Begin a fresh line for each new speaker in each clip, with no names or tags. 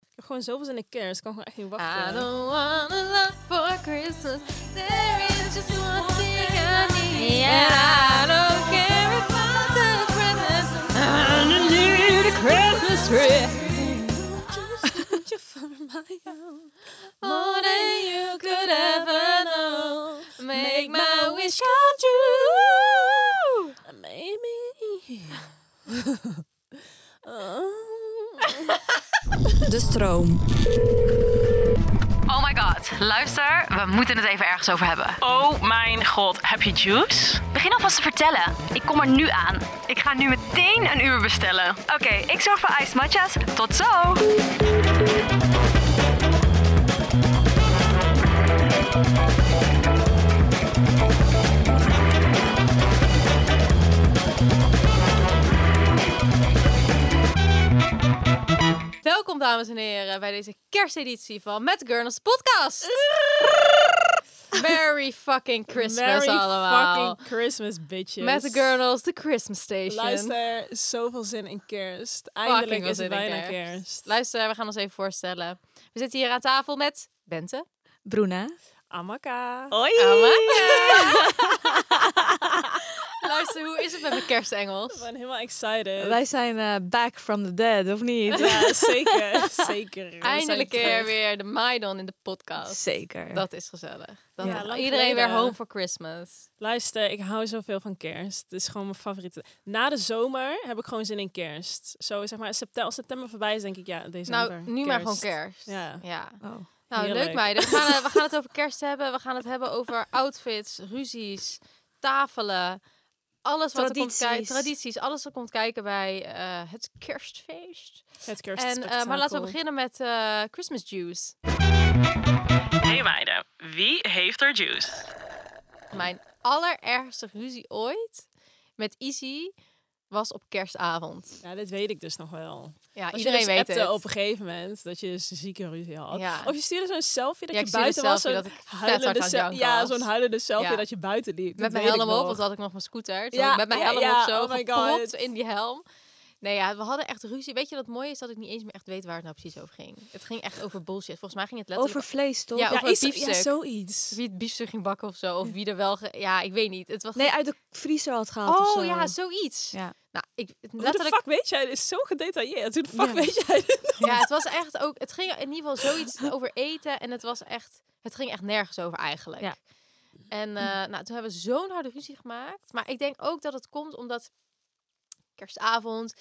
Ik heb gewoon zoveel zin in kerst. Ik kan gewoon echt niet
I
wachten.
don't wanna love for Christmas. There is just one thing I need. And I don't care about the presents. I need a Christmas tree.
Moet je van mij houden?
More than you could ever know. Make my wish come true.
Maybe.
Oh my god, luister, we moeten het even ergens over hebben.
Oh mijn god, heb je juice?
Begin alvast te vertellen. Ik kom er nu aan. Ik ga nu meteen een uur bestellen. Oké, ik zorg voor ijs matcha's. Tot zo!
Welkom dames en heren bij deze kersteditie van Met Gurnels podcast. Merry fucking Christmas
Merry
allemaal.
fucking Christmas, bitches.
Met de Gurnels, de Christmas station.
Luister, zoveel zin in kerst.
Fucking
Eindelijk
veel
is het
zin in
bijna
kerst.
kerst.
Luister, we gaan ons even voorstellen. We zitten hier aan tafel met Bente. Eh,
Amaka. Hoi.
Luister, hoe is het met mijn kerstengels?
Ik ben helemaal excited.
Wij zijn eh, back from the dead, of niet?
Ja, zeker. zeker. We zijn
Eindelijk keer
terug.
weer de Maidon in de podcast.
Zeker.
Dat is gezellig. Dan
Ja,
is
lang
iedereen weer
geleden.
home for Christmas.
Luister, ik hou zoveel van kerst. Het is gewoon mijn favoriete. Na de zomer heb ik gewoon zin in kerst. Zo zeg maar, september, als september voorbij is, denk ik, ja, december.
Nou, nu maar gewoon kerst.
Ja.
Oh.
Nou, leuk
Heerlijk.
meiden. We gaan, eh, we gaan het over kerst hebben. We gaan het hebben over outfits, ruzies, tafelen. Alles wat er komt
Tradities.
kijken. Tradities. Alles wat komt kijken bij eh, het kerstfeest.
Het
En,
kerstspektakel.
eh, maar laten we beginnen met eh, Christmas juice.
Hey meiden, wie heeft er juice?
Mijn allerergste ruzie ooit met Izzy was op kerstavond.
Ja, dit weet ik dus nog wel.
Ja,
Als
iedereen
je dus
weet
appte
het.
op een gegeven moment dat je dus zieke ruzie had.
Ja.
Of je stuurde zo'n selfie dat
Ja, ik
je
stuurde
buiten
een
was.
selfie
Zo'n
dat ik vet hard
huilende,
aan het
se-
janken
ja,
was.
zo'n huilende selfie
Ja.
dat je buiten liep.
Met
Dat
mijn
weet ik
helm op,
nog.
want had ik nog mijn scooter. Toen
Ja,
had ik met mijn
ja,
helm
ja,
op zo
oh my
gepropt
God.
in die helm. Nee, ja, we hadden echt ruzie. Weet je wat mooi is? Dat ik niet eens meer echt weet waar het nou precies over ging. Het ging echt over bullshit. Volgens mij ging het letterlijk
Over vlees, toch?
Ja,
Ja,
over
iets, ja,
biefstuk.
zoiets.
wie het biefstuk ging bakken of zo. Of wie er wel... ge- Ja, ik weet niet. Het was...
Nee, uit de vriezer had gehaald of
oh
zo.
ja, zoiets.
Ja.
Nou, ik,
Hoe de
letterlijk...
fuck weet jij? Het is zo gedetailleerd. Hoe de fuck
Ja.
weet jij dit?
Ja, het was echt ook. Het ging in ieder geval zoiets over eten. En het was echt. Het ging echt nergens over eigenlijk.
Ja.
En eh,
Mm.
nou, toen hebben we zo'n harde ruzie gemaakt. Maar ik denk ook dat het komt omdat kerstavond.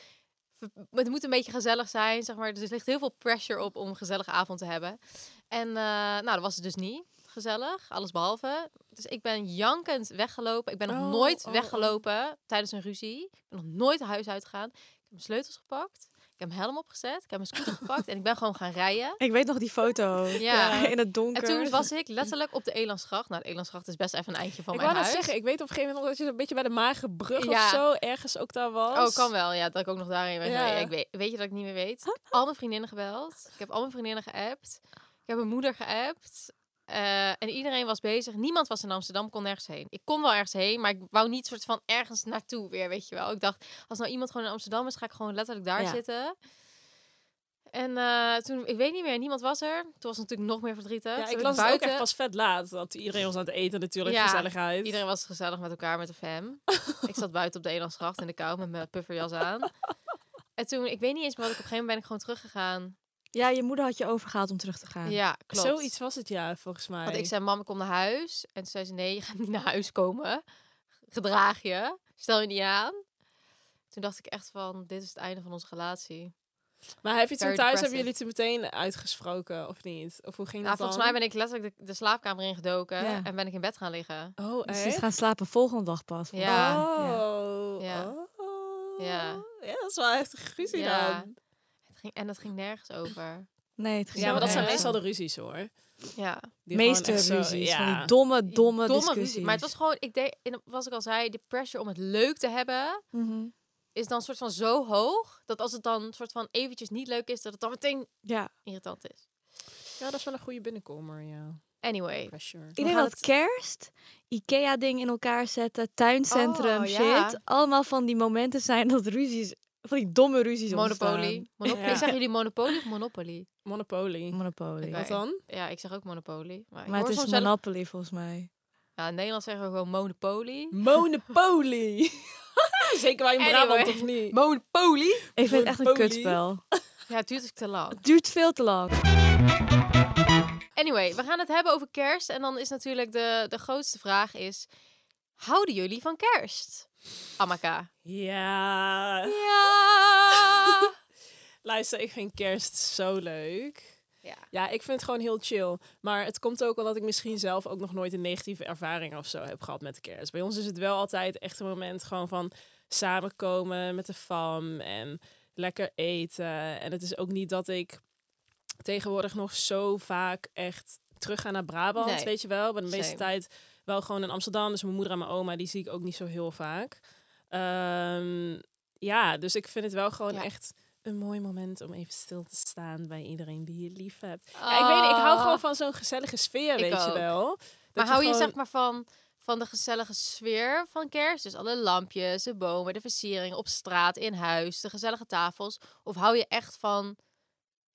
we- Het moet een beetje gezellig zijn, zeg maar. Dus er ligt heel veel pressure op om een gezellige avond te hebben. En eh, nou, dat was het dus niet. Gezellig, alles behalve. Dus ik ben jankend weggelopen. Ik ben nog
Oh,
nooit
oh, oh.
weggelopen tijdens een ruzie. Ik ben nog nooit huis uitgegaan. Ik heb mijn sleutels gepakt. Ik heb mijn helm opgezet. Ik heb mijn scooter gepakt. En ik ben gewoon gaan rijden.
Ik weet nog die foto.
Ja.
In het donker.
En toen was ik letterlijk op de Elandsgracht. Nou, de Elandsgracht is best even een eindje van
Ik wou
mijn
net
huis.
zeggen, ik weet op een gegeven moment nog dat je een beetje bij de Magenbrug
Ja.
of zo ergens ook daar was.
Oh, kan wel. Ja, dat ik ook nog daarin ben.
Ja.
gereden. Ik weet, weet je dat ik niet meer weet? Ik heb al mijn vriendinnen gebeld. Ik heb al mijn vriendinnen geappt. Ik heb mijn moeder geappt. Eh, en iedereen was bezig. Niemand was in Amsterdam, kon nergens heen. Ik kon wel ergens heen, maar ik wou niet soort van ergens naartoe weer, weet je wel. Ik dacht, als nou iemand gewoon in Amsterdam is, ga ik gewoon letterlijk daar
Ja.
zitten. En eh, toen, ik weet niet meer, niemand was er. Toen was het natuurlijk nog meer verdrietig.
Ja,
Toen
ik
ben
las het ook
buiten.
echt pas vet laat. Dat iedereen was aan het eten natuurlijk,
Ja,
gezelligheid.
Iedereen was gezellig met elkaar met de fam. ik zat buiten op de Elandsgracht in de kou met mijn pufferjas aan. En toen, ik weet niet eens meer wat ik op een gegeven moment ben ik gewoon teruggegaan.
Ja, je moeder had je overgehaald om terug te gaan.
Ja, klopt.
Zoiets was het ja, volgens mij.
Want ik zei, mam, kom naar huis. En toen zei ze, nee, je gaat niet naar huis komen. Gedraag je. Stel je niet aan. Toen dacht ik echt van, dit is het einde van onze relatie.
maar heb je
Very
toen thuis, hebben
depressing.
jullie het er meteen uitgesproken of niet? Of hoe ging dat
Nou, volgens mij
dan?
ben ik letterlijk de, de slaapkamer ingedoken.
Ja.
En ben ik in bed gaan liggen.
ben... Oh,
Dus ze is
echt?
gaan slapen volgende dag pas.
Ja.
Oh.
Ja.
oh.
Ja.
Ja, dat is wel echt een ruzie
Ja.
dan.
Het ging, en dat ging nergens over.
Nee, het ging
Ja, maar dat zijn
Ja.
nergens
meestal de
om.
ruzies hoor.
Ja.
Die
meeste
gewoon echt zo-
ruzies.
ja.
Van die domme, domme,
ruzie.
discussies.
Maar het was gewoon, ik deed, en wat ik al zei, de pressure om het leuk te hebben
Mhm.
is dan soort van zo hoog dat als het dan soort van eventjes niet leuk is, dat het dan meteen
Ja.
irritant is.
ja, dat is wel een goede binnenkomer, ja.
Anyway,
Pressure.
Ik denk
gaan
dat kerst, Ikea-ding in elkaar zetten, tuincentrum,
Oh,
shit.
ja.
Allemaal van die momenten zijn dat ruzies, van die domme ruzies
Monopoly. Monopoly.
Ja.
Ik zeg jullie Monopoly of Monopoly?
Monopoly.
ontstaan. Monopoly.
Oké.
Wat dan?
Ja, ik zeg ook Monopoly. Maar, ik
Maar het
hoor
is
soms wel-
Monopoly volgens mij.
Ja, in Nederland zeggen we gewoon Monopoly.
Monopoly. Zeker wij in
Anyway.
Brabant of niet?
Monopoly?
Ik vind het echt een
Monopoly.
kutspel.
Ja, het duurt dus te lang.
Het duurt veel te lang.
Anyway, we gaan het hebben over kerst. En dan is natuurlijk de, de grootste vraag is... Houden jullie van kerst? Amaka.
Ja.
Ja!
Luister, ik vind kerst zo leuk.
Ja.
Ja, ik vind het gewoon heel chill. Maar het komt ook omdat ik misschien zelf ook nog nooit een negatieve ervaring of zo heb gehad met de kerst. Bij ons is het wel altijd echt een moment gewoon van samenkomen met de fam en lekker eten. En het is ook niet dat ik tegenwoordig nog zo vaak echt terug ga naar Brabant,
Nee.
weet je wel. Ik ben de meeste
Same.
tijd wel gewoon in Amsterdam. Dus mijn moeder en mijn oma, die zie ik ook niet zo heel vaak. Ehm, ja, dus ik vind het wel gewoon
Ja.
echt een mooi moment om even stil te staan bij iedereen die je lief hebt. Ja, ik weet niet, ik hou
Ah.
gewoon van zo'n gezellige sfeer,
Ik
weet je
ook.
wel. Dat
Maar hou je
gewoon-
zeg maar van, van de gezellige sfeer van kerst? Dus alle lampjes, de bomen, de versiering op straat, in huis, de gezellige tafels. Of hou je echt van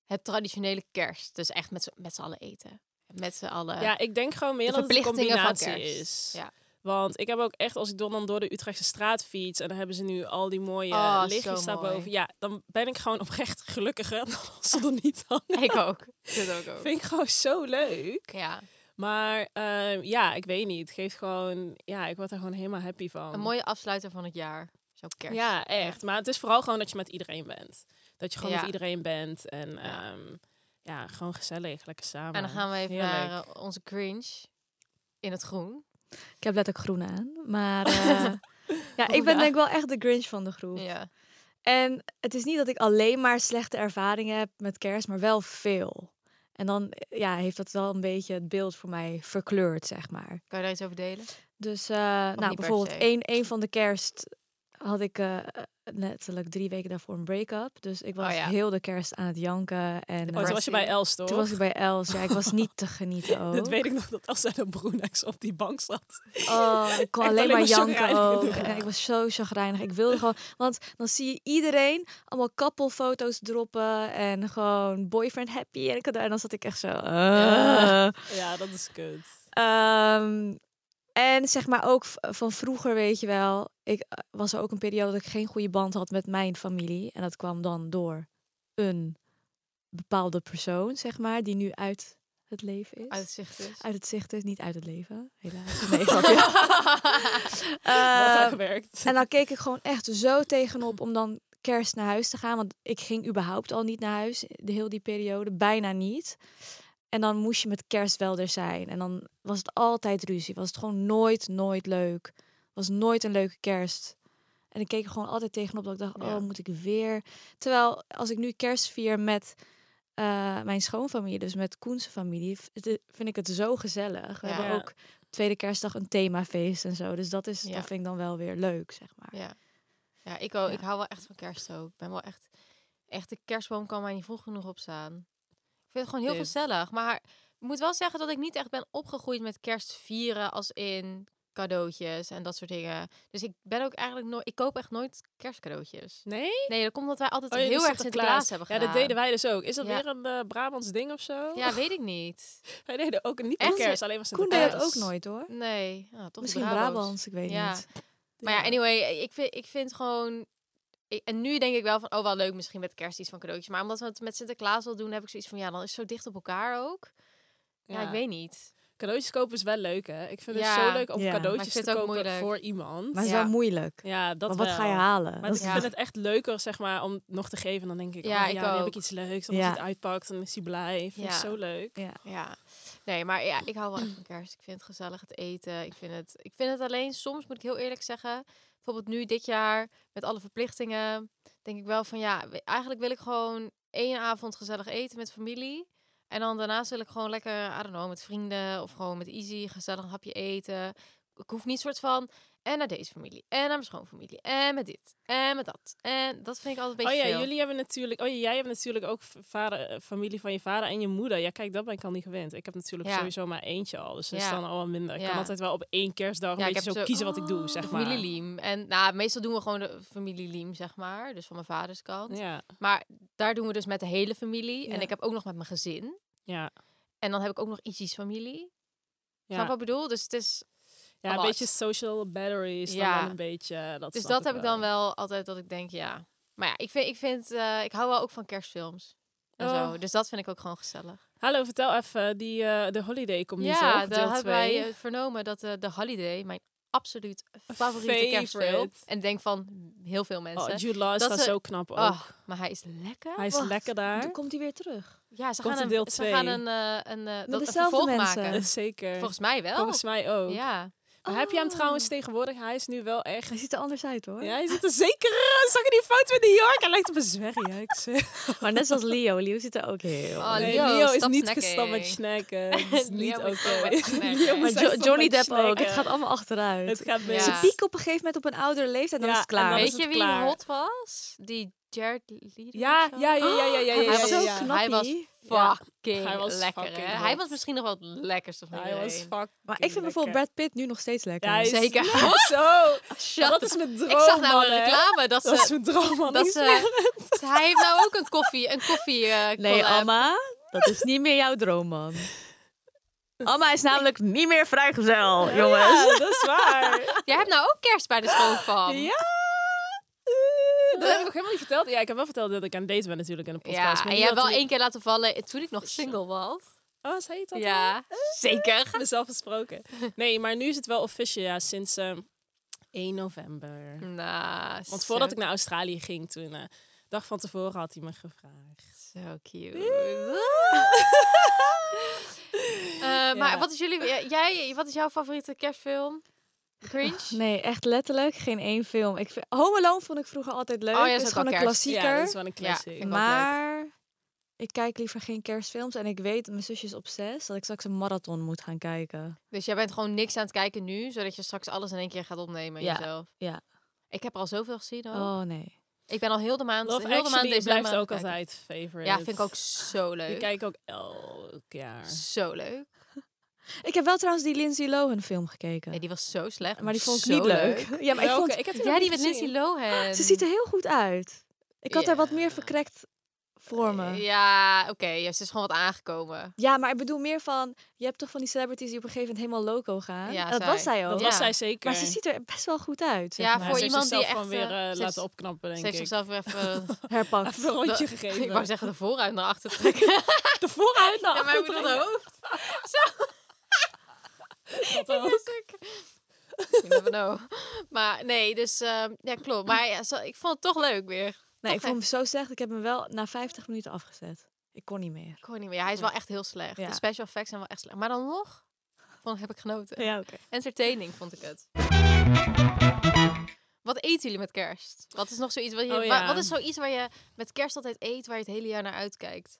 het traditionele kerst? Dus echt met, z'n- met z'n allen eten. Met z'n allen.
Ja, ik denk gewoon meer
eh, de
dat het een
verplichtingen van
combinatie
kerst.
is.
Ja.
Want ik heb ook echt, als ik dan dan door de Utrechtse straat fiets... en dan hebben ze nu al die mooie
Oh,
lichtjes
zo
daarboven.
mooi.
Ja, dan ben ik gewoon oprecht gelukkiger dan als ze er niet hadden.
Ik ook. Dit ook ook.
Vind ik gewoon zo leuk.
Ja,
Maar ehm, ja, ik weet niet. Het geeft gewoon... Ja, ik word er gewoon helemaal happy van.
een mooie afsluiter van het jaar. Zo kerst.
Ja, echt. Maar het is vooral gewoon dat je met iedereen bent. Dat je gewoon
Ja.
met iedereen bent. En
Ja.
ehm, ja, gewoon gezellig, lekker samen.
En dan gaan we even naar
Heerlijk.
eh, onze cringe in het groen.
Ik heb letterlijk groen aan. Maar eh, ja, ik ben denk ik wel echt de Grinch van de groep.
Ja.
En het is niet dat ik alleen maar slechte ervaringen heb met kerst, maar wel veel. En dan ja, heeft dat wel een beetje het beeld voor mij verkleurd, zeg maar.
Kan je daar iets over delen?
Dus eh, nou,
niet per
bijvoorbeeld
se.
één, één van de kerst had ik eh, letterlijk drie weken daarvoor een break-up. Dus ik was
Oh ja.
heel de kerst aan het janken. En eh,
Oh, toen was je bij Els, toch?
toen was ik bij Els. Ja, ik was niet te genieten ook.
Dat weet ik nog, dat als er een Broenex op die bank zat.
Oh, ik kon
Echt
alleen
alleen
maar
maar
janken
chagrijnig.
ook. En ik was zo chagrijnig. Ik wilde gewoon... Want dan zie je iedereen allemaal koppelfoto's droppen. En gewoon boyfriend happy. En, cadeau. en dan zat ik echt zo... eh.
Ja. Ja, dat is kut.
Ehm, en zeg maar ook v- van vroeger, weet je wel. Ik eh, was er ook een periode dat ik geen goede band had met mijn familie. En dat kwam dan door een bepaalde persoon, zeg maar. Die nu uit het leven is.
Uitzicht dus.
Uit het zicht is, niet uit het leven, helaas. Nee, grapje.
Wat
Ehm,
daar gewerkt.
en dan keek ik gewoon echt zo tegenop om dan kerst naar huis te gaan. Want ik ging überhaupt al niet naar huis, de heel die periode. Bijna niet. En dan moest je met kerst wel er zijn. En dan was het altijd ruzie. Was het gewoon nooit, nooit leuk. Was nooit een leuke kerst. En ik keek er gewoon altijd tegenop dat ik dacht,
Ja.
oh, moet ik weer? Terwijl als ik nu kerst vier met eh, mijn schoonfamilie, dus met Koense familie, v- het- vind ik het zo gezellig. We
Ja.
hebben
Ja.
ook tweede kerstdag een themafeest en zo. Dus dat, is,
Ja.
dat vind ik dan wel weer leuk, zeg maar.
Ja. Ja, ik, ook,
Ja.
ik hou wel echt van kerst ook. Ik ben wel echt... Echt, de kerstboom kan mij niet vroeg genoeg opstaan. Ik vind het gewoon heel
Dit.
gezellig. Maar ik moet wel zeggen dat ik niet echt ben opgegroeid met kerstvieren als in cadeautjes en dat soort dingen. Dus ik ben ook eigenlijk nooit... Ik koop echt nooit kerstcadeautjes.
Nee?
Nee, dat komt omdat wij altijd
Oh, jullie
heel erg Sinterklaas
Sinterklaas.
hebben
Ja,
gedaan.
dat deden wij dus ook. Is dat
Ja.
weer een eh, Brabants ding of zo?
Ja, weet ik niet.
Wij deden ook niet
Echt?
met kerst, alleen was
Koen deed
Sinterklaas.
dat ook nooit hoor.
Nee. Ah, toch die
Misschien
Brabo's.
Brabants, ik weet
Ja.
niet.
Maar ja, anyway, ik vind, ik vind gewoon ik- en nu denk ik wel van, oh wel leuk, misschien met kerst iets van cadeautjes. Maar omdat we het met Sinterklaas al doen, heb ik zoiets van, ja, dan is het zo dicht op elkaar ook. Ja, ik weet niet.
Cadeautjes kopen is wel leuk, hè? Ik vind
Ja.
het zo leuk om
Ja.
Maar ik
cadeautjes te
vind het ook
kopen
moeilijk.
voor iemand.
Maar het is
Ja.
wel moeilijk.
ja, dat
Want wat
wel.
ga je halen?
Maar
Dat is-
ik
Ja.
vind het echt leuker, zeg maar, om nog te geven. Dan denk ik,
Ja,
ja, oh,
ik
ja dan heb
ook.
ik iets leuks. Dan
Ja.
als je het uitpakt, dan is hij blij. Vind ik
Ja.
zo leuk.
Ja. Nee, maar ja, ik hou wel echt van kerst. Ik vind het gezellig, het eten. Ik vind het, ik vind het alleen, soms moet ik heel eerlijk zeggen... Bijvoorbeeld nu, dit jaar, met alle verplichtingen... denk ik wel van, ja, we- eigenlijk wil ik gewoon één avond gezellig eten met familie. En dan daarnaast wil ik gewoon lekker, I don't know, met vrienden... of gewoon met Easy gezellig een hapje eten. Ik hoef niet soort van... En naar deze familie. En naar mijn schoonfamilie. En met dit. En met dat. En dat vind ik altijd een
Oh
beetje
ja,
veel.
jullie hebben natuurlijk, oh ja, jij hebt natuurlijk ook v- vader, eh, familie van je vader en je moeder. Ja, kijk, dat ben ik al niet gewend. Ik heb natuurlijk
Ja.
sowieso maar eentje al, dus dat is
Ja.
dan al wel minder. Ik
Ja.
kan altijd wel op één kerstdag
Ja,
een beetje
ik heb
zo
zo- Oh,
kiezen wat ik doe,
De
zeg maar.
familie Liem. En nou, meestal doen we gewoon de familie Liem, zeg maar. Dus van mijn vaders kant.
Ja,
Maar daar doen we dus met de hele familie. En
Ja.
ik heb ook nog met mijn gezin.
ja,
En dan heb ik ook nog Izzy's familie. Ja.
ja.
wat ik bedoel? Dus het is...
ja een
wat?
beetje social batteries, dan
Ja.
wel een beetje. Dat
dus
snap
dat heb ik dan wel altijd dat ik denk, ja. Maar ja, ik, vind, ik, vind, eh, ik hou wel ook van kerstfilms. En
Oh.
zo. Dus dat vind ik ook gewoon gezellig.
Hallo, vertel even, die, eh, de holiday komt niet
ja,
zo,
daar
deel
hebben
2.
wij eh, vernomen dat eh The Holiday... mijn absoluut favoriete
Favorite.
kerstfilm... en ik denk van heel veel mensen...
Oh, Jude Law is
dat
daar
ze-
zo knap ook.
Ah, maar hij is lekker.
Hij is
wacht.
lekker daar.
Dan komt hij weer terug.
Ja, ze
Komt
gaan een,
er deel
ze
twee?
gaan een, eh, een, eh, dat, een
dezelfde
vervolg
mensen?
Eh,
maken.
Zeker.
Volgens mij wel.
Volgens mij ook.
Ja. Oh.
Maar heb je hem trouwens tegenwoordig? Hij is nu wel echt
Hij ziet er anders uit hoor.
Ja, hij ziet er zeker uit. Zag je die foto in New York? Hij lijkt op een zwerrie. hè, ik zeg.
Maar net zoals Leo. Leo ziet er ook heel.
Oh,
Nee,
Leo,
Leo is
stop
niet
snacking.
gestapt met snacken. Dat is
Leo
niet
moet
oké.
stoppen met snacken.
Leo
Maar
moet
maar
echt
Jo-
stoppen
Johnny
met
Depp ook.
snacken.
Het gaat allemaal achteruit.
Het gaat mis.
Ja.
Ze pieken op een gegeven moment op een oudere leeftijd
Ja,
en dan is het klaar.
en dan
Weet
is
je
het
wie
klaar.
hot was? Die Jared Leto?
Ja,
of zo?
ja, ja, ja, ja, ja, ja,
Hij
ja,
was
ja,
zo
ja.
knap.
Hij was
knappie.
Ja.
fucking
Hij was
lekker,
fucking
hè?
hot.
Hij was misschien nog wel het lekkerste van
Hij
iedereen.
was fucking
Maar ik vind bijvoorbeeld
lekker.
Brad Pitt nu nog steeds lekker.
Ja, hij is
Zeker.
lekker Zo.
Shut
Maar dat
the-
is mijn droom,
Ik zag nou een
man, hè.
reclame dat
Dat is eh,
ze...
mijn droom, man.
Dat
Ik
ze hij heeft nou ook een koffie, een koffie eh,
Nee,
collab.
Alma, dat is niet meer jouw droom, man. Alma is namelijk niet meer vrijgezel, jongens.
Ja, dat is waar.
Jij hebt nou ook kerst bij de school van.
Ja. Dat heb ik nog helemaal niet verteld. Ja, ik heb wel verteld dat ik aan het daten ben natuurlijk in de podcast.
Ja,
maar
en
niet
jij hebt
dat
wel
ik-
één keer laten vallen toen ik nog single was.
Oh, zei je dat al?
Ja, zeker.
mezelf gesproken. Nee, maar nu is het wel officieel, ja, sinds eh, 1 november.
Nou,
Want voordat ik naar Australië ging, toen, eh, dag van tevoren had hij me gevraagd.
Zo cute. Eh, Maar wat is jullie... eh, Jij, wat is jouw favoriete kerstfilm? Cringe?
Nee, echt letterlijk geen één film. Ik vind, Home Alone vond ik vroeger altijd leuk.
Oh ja, is
dat
ook
is gewoon
wel
een
kerst.
klassieker.
Ja, dat is wel een classic.
vind ik wel
maar ik kijk liever geen kerstfilms. En ik weet, mijn zusje is op zes, dat ik straks een marathon moet gaan kijken.
Dus jij bent gewoon niks aan het kijken nu, zodat je straks alles in één keer gaat opnemen
Ja,
jezelf.
ja.
Ik heb er al zoveel gezien. Hoor.
Oh nee.
Ik ben al heel de maand,
Love
heel de maand
Actually
december
blijft
aan
ook
het kijken.
altijd favorite.
Ja, vind ik ook zo
Die
leuk.
kijk ik ook elk jaar.
Zo leuk.
Ik heb wel trouwens die Lindsay Lohan film gekeken.
Nee, die was zo slecht.
maar die vond ik
zo
niet leuk. Ja, maar ik
Welke?
vond,
Ik heb
Ja, die met
met
Lindsay Lohan.
ze ziet er heel goed uit. Ik had haar wat
Ja.
meer verkrekt voor me.
Ja, oké. ja, ze is gewoon wat aangekomen.
Ja, maar ik bedoel meer van, je hebt toch van die celebrities die op een gegeven moment helemaal loco gaan.
Ja,
En dat
zij.
was zij ook.
Dat
Ja.
was zij zeker.
Maar ze ziet er best wel goed uit. zeg
Ja,
maar.
Maar
voor
ze heeft
iemand die
zichzelf gewoon
echt,
weer
eh,
eh,
ze heeft-
laten opknappen,
Ze
denk
heeft
ik.
zichzelf weer even... Ah,
herpakt.
Even een rondje
Ik wou
gegeven.
zeggen de vooruit naar achter trekken.
De vooruit naar
Ja, maar ik
achter
bedoel
trekken.
de hoofd.
Dat ook.
You never know. Maar nee, dus ehm, ja, klopt. Maar ja, zo- ik vond het toch leuk weer.
Nee, ik vond hem zo slecht. Ik heb hem wel na 50 minuten afgezet. Ik kon niet meer.
Ik hoor niet meer. Ja, hij is wel echt heel slecht.
Ja.
De special effects zijn wel echt slecht. Maar dan nog vond, heb ik genoten.
Ja,
Entertaining vond ik het. Wat eten jullie met kerst? Wat is nog zoiets wat je,
Oh,
wa-
ja.
wat is zoiets waar je met kerst altijd eet, waar je het hele jaar naar uitkijkt?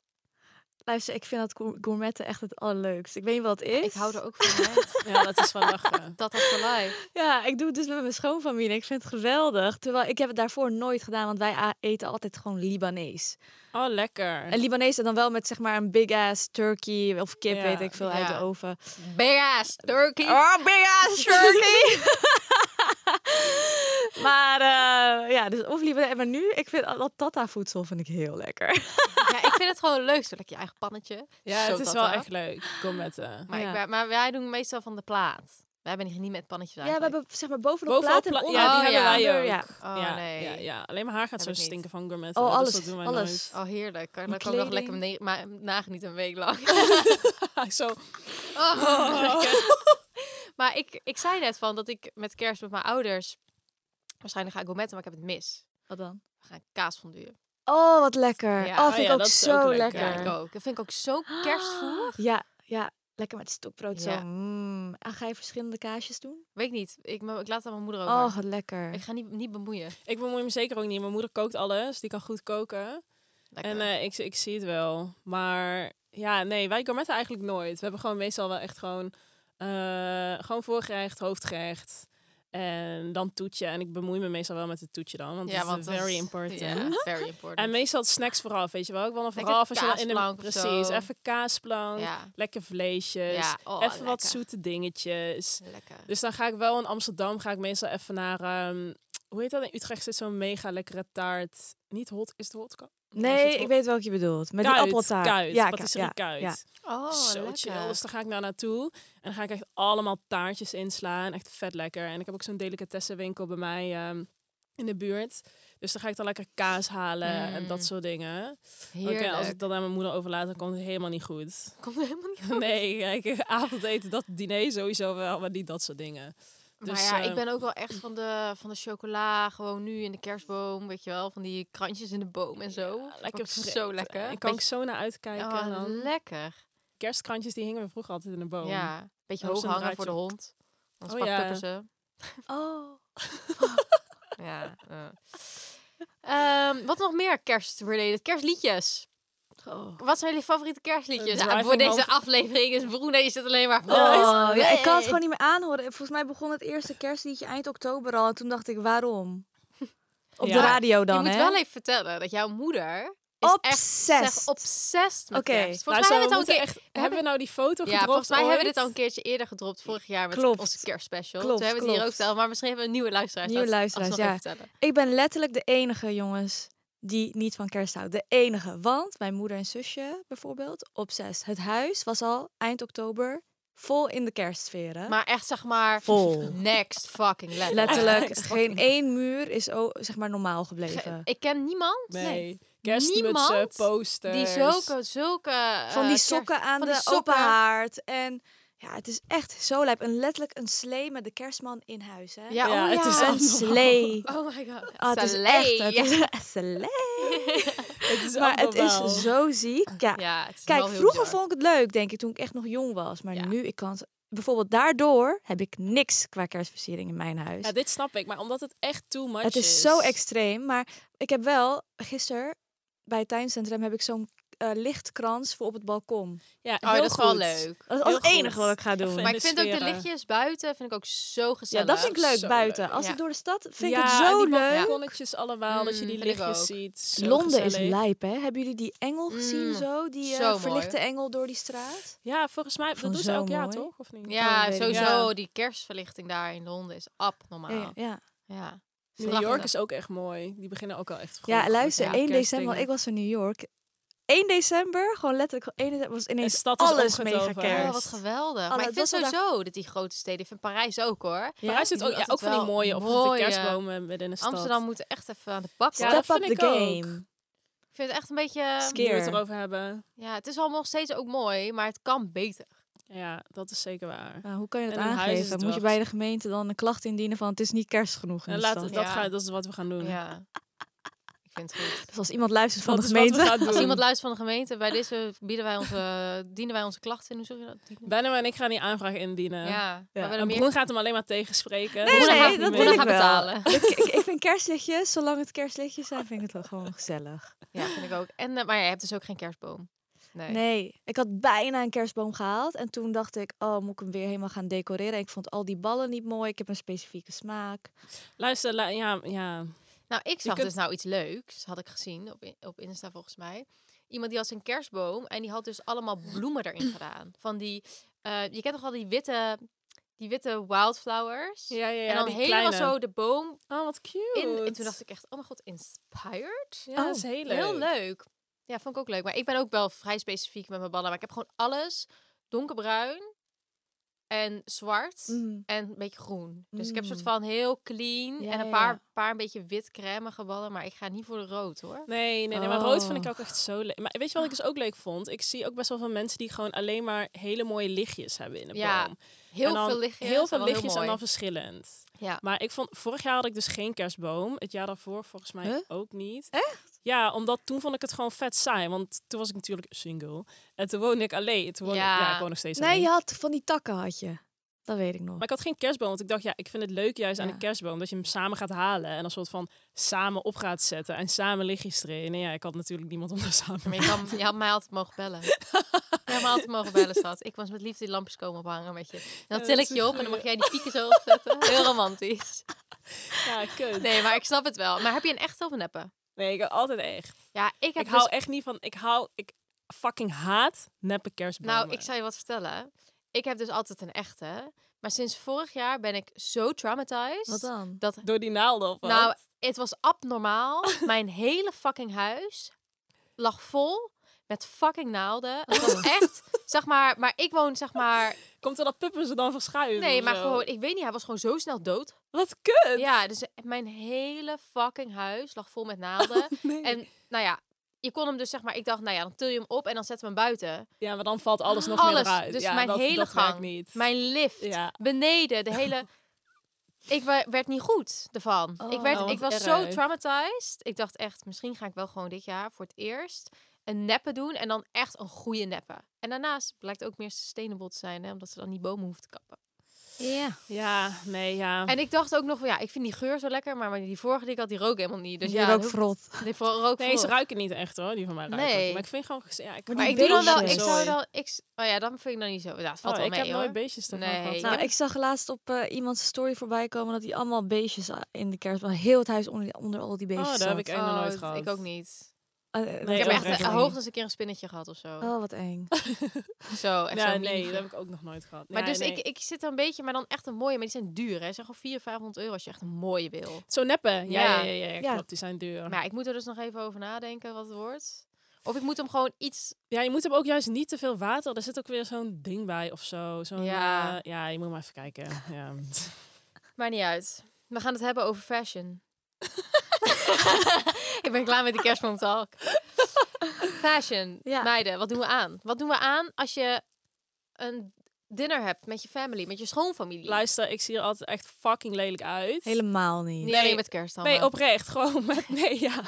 Luister, ik vind dat gour- gourmetten echt het allerleukst. Ik weet niet wat het is.
Ik hou er ook van. hè.
Ja, dat is wel lachen.
Dat was for life.
Ja, ik doe het dus met mijn schoonfamilie. Ik vind het geweldig. Terwijl ik heb het daarvoor nooit gedaan, want wij a- eten altijd gewoon Libanees.
Oh, lekker.
En Libanees en dan wel met zeg maar een big ass turkey of kip,
Ja.
weet ik veel, uit
Ja.
de oven.
Big ass turkey.
Oh, big ass turkey! maar eh, ja, dus of Libanees. Maar nu, ik vind al dat tata voedsel vind ik heel lekker.
Ja, ik vind het gewoon leuk, zo lekker je eigen pannetje.
Ja,
Zo
het is
dat
wel
wel.
echt leuk. Kom met... eh,
Maar,
Ja.
ik, ben- maar wij doen meestal van de plaat. Wij hebben niet met pannetjes
Ja, we
eigenlijk.
hebben zeg maar bovenop,
Bovenop
plaat
pla-
en onder.
ja, die
Oh,
hebben
ja.
wij ook.
Ja.
Oh,
ja,
nee.
ja, ja. alleen mijn haar gaat zo
Heb ik niet.
stinken van gourmet.
Oh,
Dus dat
alles.
doen wij
Alles.
Oh, heerlijk. Kan,
Mijn
dan kan ik nog lekker
kleding.
mijn ne- ma- nagenieten een week lang.
nooit. Ah, zo.
Oh. maar ik, ik zei net van dat ik met kerst met mijn ouders... Waarschijnlijk ga ik gourmetten, maar ik heb het mis.
Wat dan?
We gaan kaas fonduren.
Oh, wat lekker.
Ja.
Oh,
Oh ja,
vind ik ook
dat is
zo
ook lekker.
lekker.
Ja, ik ook. Dat vind ik ook zo kerstvoer.
Ja, ja, lekker met stokbrood
Ja.
zo. Mm. En ga je verschillende kaasjes doen?
Weet ik niet. Ik, maar ik laat het aan mijn moeder over.
Oh, wat lekker.
Ik ga niet, niet bemoeien.
Ik bemoei me zeker ook niet. Mijn moeder kookt alles. Die kan goed koken.
Lekker.
En eh, ik, ik zie het wel. Maar ja, nee, wij gourmetten eigenlijk nooit. We hebben gewoon meestal wel echt gewoon, eh, gewoon voorgerecht, hoofdgerecht. En dan toetje. En ik bemoei me meestal wel met het toetje dan. Want dat is eh,
dat
very
is-
important.
Ja, very important.
En meestal het snacks vooraf, weet je wel. Ik wil dan
Lekker
vooraf als je dan in de...
kaasplank of zo.
Precies, even kaasplank.
ja.
Lekker vleesjes.
Ja, oh,
even wat
lekker.
zoete dingetjes.
Lekker.
Dus dan ga ik wel in Amsterdam, ga ik meestal even naar... ehm, hoe heet dat? In Utrecht zit zo'n mega lekkere taart. Niet hot, is het hot?
Nee, ik weet welke je bedoelt. Met die appeltaart.
Kuit,
ja,
patisserie
ja,
kuit.
ja.
Oh,
Zo chill. Dus dan ga ik daar naartoe. En dan ga ik echt allemaal taartjes inslaan. Echt vet lekker. En ik heb ook zo'n delicatessenwinkel bij mij ehm, in de buurt. Dus dan ga ik dan lekker kaas halen en dat
Mm.
soort dingen. Oké,
Heerlijk.
als ik dat aan mijn moeder overlaat, dan komt het helemaal niet goed.
Komt helemaal niet goed.
Nee, kijk, avondeten, dat diner sowieso wel, maar niet dat soort dingen.
maar
Dus,
ja,
eh,
ik ben ook wel echt van de, van de chocola, gewoon nu in de kerstboom, weet je wel, van die krantjes in de boom en zo. Vond ik
lekker
ook zo
vreet.
lekker.
Ik kan ook
Beetje-
zo naar uitkijken. en
oh,
dan.
lekker.
Kerstkrantjes, die hingen we vroeger altijd in de boom.
Ja, beetje
Oh,
hoog
zo'n
hangen voor de
draadje.
hond. Dan
Oh,
pak
ja.
Pepper ze.
Oh.
Ja. eh. Ehm, wat nog meer kerst-related? Kerstliedjes.
Oh.
Wat zijn jullie favoriete kerstliedjes?
Eh,
Ja, voor
Driving
deze
Home-
aflevering is Bruno, je zit alleen maar...
Oh, ja, ik kan het gewoon niet meer aanhoren. Volgens mij begon het eerste kerstliedje eind oktober al. En toen dacht ik, waarom? Op
Ja.
de radio dan,
Je moet
hè?
wel even vertellen dat jouw moeder is echt zeg,
Obsessed.
obsessed met
Oké. nou,
kerst. Volgens
Luister,
mij hebben we het al een
moeten
keer...
echt, hebben we nou die foto
Ja,
gedropt
volgens mij hebben we dit al
ooit?
een keertje eerder gedropt vorig jaar met
Klopt.
onze kerstspecial.
Klopt,
Toen hebben we het hier ook
klopt.
verteld, maar misschien hebben we een nieuwe luisteraars.
Nieuwe
Laat het
luisteraars,
alsnog even vertellen.
Ik ben letterlijk de enige, jongens, die niet van kerst houdt. De enige. Want mijn moeder en zusje, bijvoorbeeld, op zes. Het huis was al eind oktober vol in de kerstsferen.
Maar echt zeg maar
Vol.
next fucking level.
Letterlijk,
Echt.
geen één muur is o- zeg maar normaal
Ge-
gebleven.
eh, Ik ken niemand
Nee. Kerstmutsen,
Niemand
posters.
die zulke, zulke... eh,
van die
kerst-
sokken aan
van
de
die sokken.
open haard. En ja, het is echt zo lijp. En letterlijk een slee met de kerstman in huis. Hè?
Ja,
Ja,
oh
het
ja.
is
een slee.
Oh my god.
Ah, het is
Salé.
echt het is echt slee.
Het is
Maar het
abnormaal.
is zo ziek. Ja.
Ja, het is
Kijk,
wel heel
vroeger
bizar.
vond ik het leuk, denk ik, toen ik echt nog jong was. Maar
Ja.
nu, ik kan het... Bijvoorbeeld daardoor heb ik niks qua kerstversiering in mijn huis.
Ja, dit snap ik. Maar omdat het echt too much
Het is zo extreem, maar ik heb wel gisteren bij het tuincentrum heb ik zo'n eh, lichtkrans voor op het balkon.
Ja,
Oh,
heel
dat is wel
goed.
leuk.
Dat is als
Heel
enige
goed.
wat ik ga
Ik
doen.
vind-
Maar
de
ik vind ook de
sferen.
lichtjes buiten vind ik ook zo
Ja,
gezellig.
dat vind ik leuk
Zo
buiten.
leuk.
Als
Ja.
ik door de stad vind ik
Ja,
het
en
zo
die
leuk.
balkonnetjes allemaal, dat je die
Mm, vind ik
lichtjes
ook.
ziet. Zo
Londen is
gezellig.
lijp, hè? Hebben jullie die engel gezien
Mm,
zo? Die eh,
zo mooi.
verlichte engel door die straat?
Ja, volgens mij, dat
Vond
doen ze
zo
elk jaar
mooi.
toch? Of niet?
Ja,
Oh, weet ik
sowieso.
niet.
Die kerstverlichting daar in Londen is abnormaal.
Ja, ja.
Ja.
New York is ook echt mooi. Die beginnen ook al echt vroeg
ja
met de
luister, 1 december,
kerstdingen.
want ik was in New York. 1 december, gewoon letterlijk 1 december, was
De
ineens
stad is
alles mega
omgetoverd.
Oh,
kerst.
wat geweldig.
Alle-
maar ik vind
dat we daar-
sowieso dat die grote steden, ik vind Parijs ook hoor.
Ja?
Parijs zit
Die
ook,
doen
ja, ook
altijd
van die
wel
mooie,
mooie-
opgevoerde kerstbomen midden in de stad.
Amsterdam moet er echt even aan de bak.
Ja,
hoor.
dat
Step up
vind
the
ik ook.
game.
Ik vind het echt een beetje... ehm,
Ski-
die we het
keer.
erover hebben.
Ja, het is allemaal nog steeds ook mooi, maar het kan beter.
Ja, dat is zeker waar.
Nou, hoe kan je dat
En in huis is
aangeven?
het
Moet je
wel
bij de gemeente dan een klacht indienen van het is niet kerst genoeg in
En
de
laat,
stad?
dat,
Ja.
ga, dat is wat Eh, we gaan doen.
Ja. Ik vind het goed.
Dus als iemand luistert van
Dat
de
is wat we
gemeente,
gaan
Als
doen.
iemand luistert van de gemeente, bij deze bieden wij onze, dienen wij onze klachten in. Hoe zeg je dat? Dienen-
Benno en ik gaan die aanvraag indienen.
Ja, ja. we hebben er
En
meer...
Broen gaat hem alleen maar tegenspreken.
Nee,
Dus
nee,
daar
Broenen
gaat
gaan-
hij
dat
mee.
wil
broenen
ik
gaan
wel.
betalen.
ik, ik, ik vind kerstlichtjes, zolang het kerstlichtjes zijn, vind ik het wel gewoon gezellig.
Ja, vind ik ook. En, eh, maar je hebt dus ook geen kerstboom. Nee.
Nee, ik had bijna een kerstboom gehaald. En toen dacht ik, oh, moet ik hem weer helemaal gaan decoreren? Ik vond al die ballen niet mooi. Ik heb een specifieke smaak.
Luister, lu- ja, ja.
Nou, ik zag
kunt-
dus nou iets leuks, had ik gezien op, in- op Insta volgens mij. Iemand die had zijn kerstboom en die had dus allemaal bloemen erin gedaan. Van die, eh, je kent toch wel die witte, die witte wildflowers?
ja, ja, ja
en dan
die
helemaal
kleine.
zo de boom
Oh, wat cute.
in. En toen dacht ik echt, oh mijn god, inspired?
ja, dat is heel leuk.
Heel leuk. Ja, vond ik ook leuk. Maar ik ben ook wel vrij specifiek met mijn ballen. Maar ik heb gewoon alles donkerbruin en zwart
Mhm.
en een beetje groen. Dus ik heb een soort
Mm.
van heel clean
Ja,
en een
ja,
paar,
ja.
paar een beetje wit crème ballen. Maar ik ga niet voor de rood hoor.
Nee, nee, nee, maar rood vind ik
Oh.
ook echt zo leuk. Maar weet je wat ik dus ook leuk vond? Ik zie ook best wel veel mensen die gewoon alleen maar hele mooie lichtjes hebben in een
Ja,
boom.
Heel
En dan
veel lichtjes.
Heel
en
veel
dan heel
lichtjes en
mooi.
dan verschillend.
Ja.
Maar ik vond, vorig jaar had ik dus geen kerstboom. Het jaar daarvoor volgens mij
Huh?
ook niet. Echt? Ja, omdat toen vond ik het gewoon vet saai. Want toen was ik natuurlijk single. En toen woonde ik alleen. Toen woonde
Ja.
Ik, ja, ik woon nog steeds alleen.
Nee, je had van die takken had je. Dat weet ik nog.
Maar ik had geen kerstboom, want ik dacht, ja, ik vind het leuk juist aan
Ja.
een kerstboom. Dat je hem samen gaat halen en een soort van samen op gaat zetten. En samen lichtjes trainen. Ja, ik had natuurlijk niemand om daar samen
Maar je, kan, je had mij altijd mogen bellen. Je had mij altijd mogen bellen, schat. Ik was met liefde die lampjes komen ophangen met je. En dan
Ja,
til
dat
ik
is
je
een
op en dan mag
goeie.
jij die pieken zo opzetten. Heel romantisch.
Ja, kut. Nee,
Nee, maar ik snap het wel. Maar heb je een echte of een neppe?
ik had altijd echt.
Ja, ik
Ik,
heb dus-
hou echt niet van... Ik hou... Ik fucking haat neppe kerstbomen.
Nou, ik zal je wat vertellen. Ik heb dus altijd een echte. Maar sinds vorig jaar ben ik zo traumatized.
Wat dan?
Dat,
Door die naalden of wat?
nou, het was abnormaal. Mijn hele fucking huis lag vol met fucking naalden. Het was echt, zeg maar, maar ik woon, zeg maar...
Komt er dat puppen ze dan verschuiven?
Nee,
of
maar
zo?
gewoon, ik weet niet, hij was gewoon zo snel dood.
Wat kut!
Ja, dus mijn hele fucking huis lag vol met naalden.
Nee.
En nou ja, je kon hem dus zeg maar, ik dacht, nou ja, dan til je hem op en dan zetten we hem buiten.
Ja, maar dan valt alles nog meer
Alles,
eruit.
dus
ja,
mijn
dat,
hele
dat werkt
gang,
niet.
Mijn lift,
Ja.
beneden, de hele... Ik wa- werd niet goed ervan. ik, werd,
Oh,
ik was
wat
zo
erg.
traumatized. Ik dacht echt, misschien ga ik wel gewoon dit jaar voor het eerst een neppen doen. En dan echt een goede neppen. En daarnaast blijkt ook meer sustainable te zijn. Hè, omdat ze dan niet bomen hoeven te kappen.
Ja.
Ja, nee, ja.
En ik dacht ook nog van, ja, ik vind die geur zo lekker. Maar die vorige die ik had, die rook helemaal niet. Dus
Dus
ja,
ja,
dan
ook
hoef-
vrot.
Die voor rook
Nee, ze
voor.
ruiken niet echt hoor, die van mij ruiken.
Nee.
ook. Maar ik vind gewoon... Ja, ik,
Maar
Maar
Die
ik doe dan wel, ik
beestjes.
zou dan, ik, s- oh ja, dan vind ik dan niet zo. Ja, het valt
Oh,
wel
ik
mee
heb
hoor.
nooit beestjes ervan
Nee.
gehad.
Ik
Nou,
heb-
ik zag laatst op eh, iemands story voorbij komen dat hij allemaal beestjes a- in de kerst, wel heel het huis onder, onder al die beestjes.
Oh, daar heb ik
zat.
echt nog
Oh,
nooit
dat-
gehad.
Ik ook niet.
Eh, eh, dat
Nee,
ik
ook
heb echt
niet.
eh, hoogstens een keer een spinnetje gehad of zo.
Oh, wat eng.
Zo, echt
Ja, nee,
zo'n mini.
dat heb ik ook nog nooit gehad.
Maar
Ja,
dus
nee.
ik, ik zit er een beetje, maar dan echt een mooie. Maar die zijn duur, hè. Ze zijn gewoon 400, 500 euro als je echt een mooie wil.
Zo neppen. Ja,
Ja.
ja, ja, ja, ja,
Ja.
klopt. Die zijn duur.
Maar ja, ik moet er dus nog even over nadenken wat het wordt. Of ik moet hem gewoon iets...
Ja, je moet hem ook juist niet te veel water. Er zit ook weer zo'n ding bij of zo. Zo'n,
Ja.
ja. ja, je moet maar even kijken. Ja.
Maar niet uit. We gaan het hebben over fashion. ik ben klaar met de kerstboomtalk. Fashion.
Ja.
Meiden, wat doen we aan? Wat doen we aan als je een dinner hebt met je family, met je schoonfamilie?
Luister, ik zie er altijd echt fucking lelijk uit.
Helemaal niet.
Niet
Nee.
alleen met kerst dan.
Nee,
maar.
oprecht. Gewoon met... Nee, ja.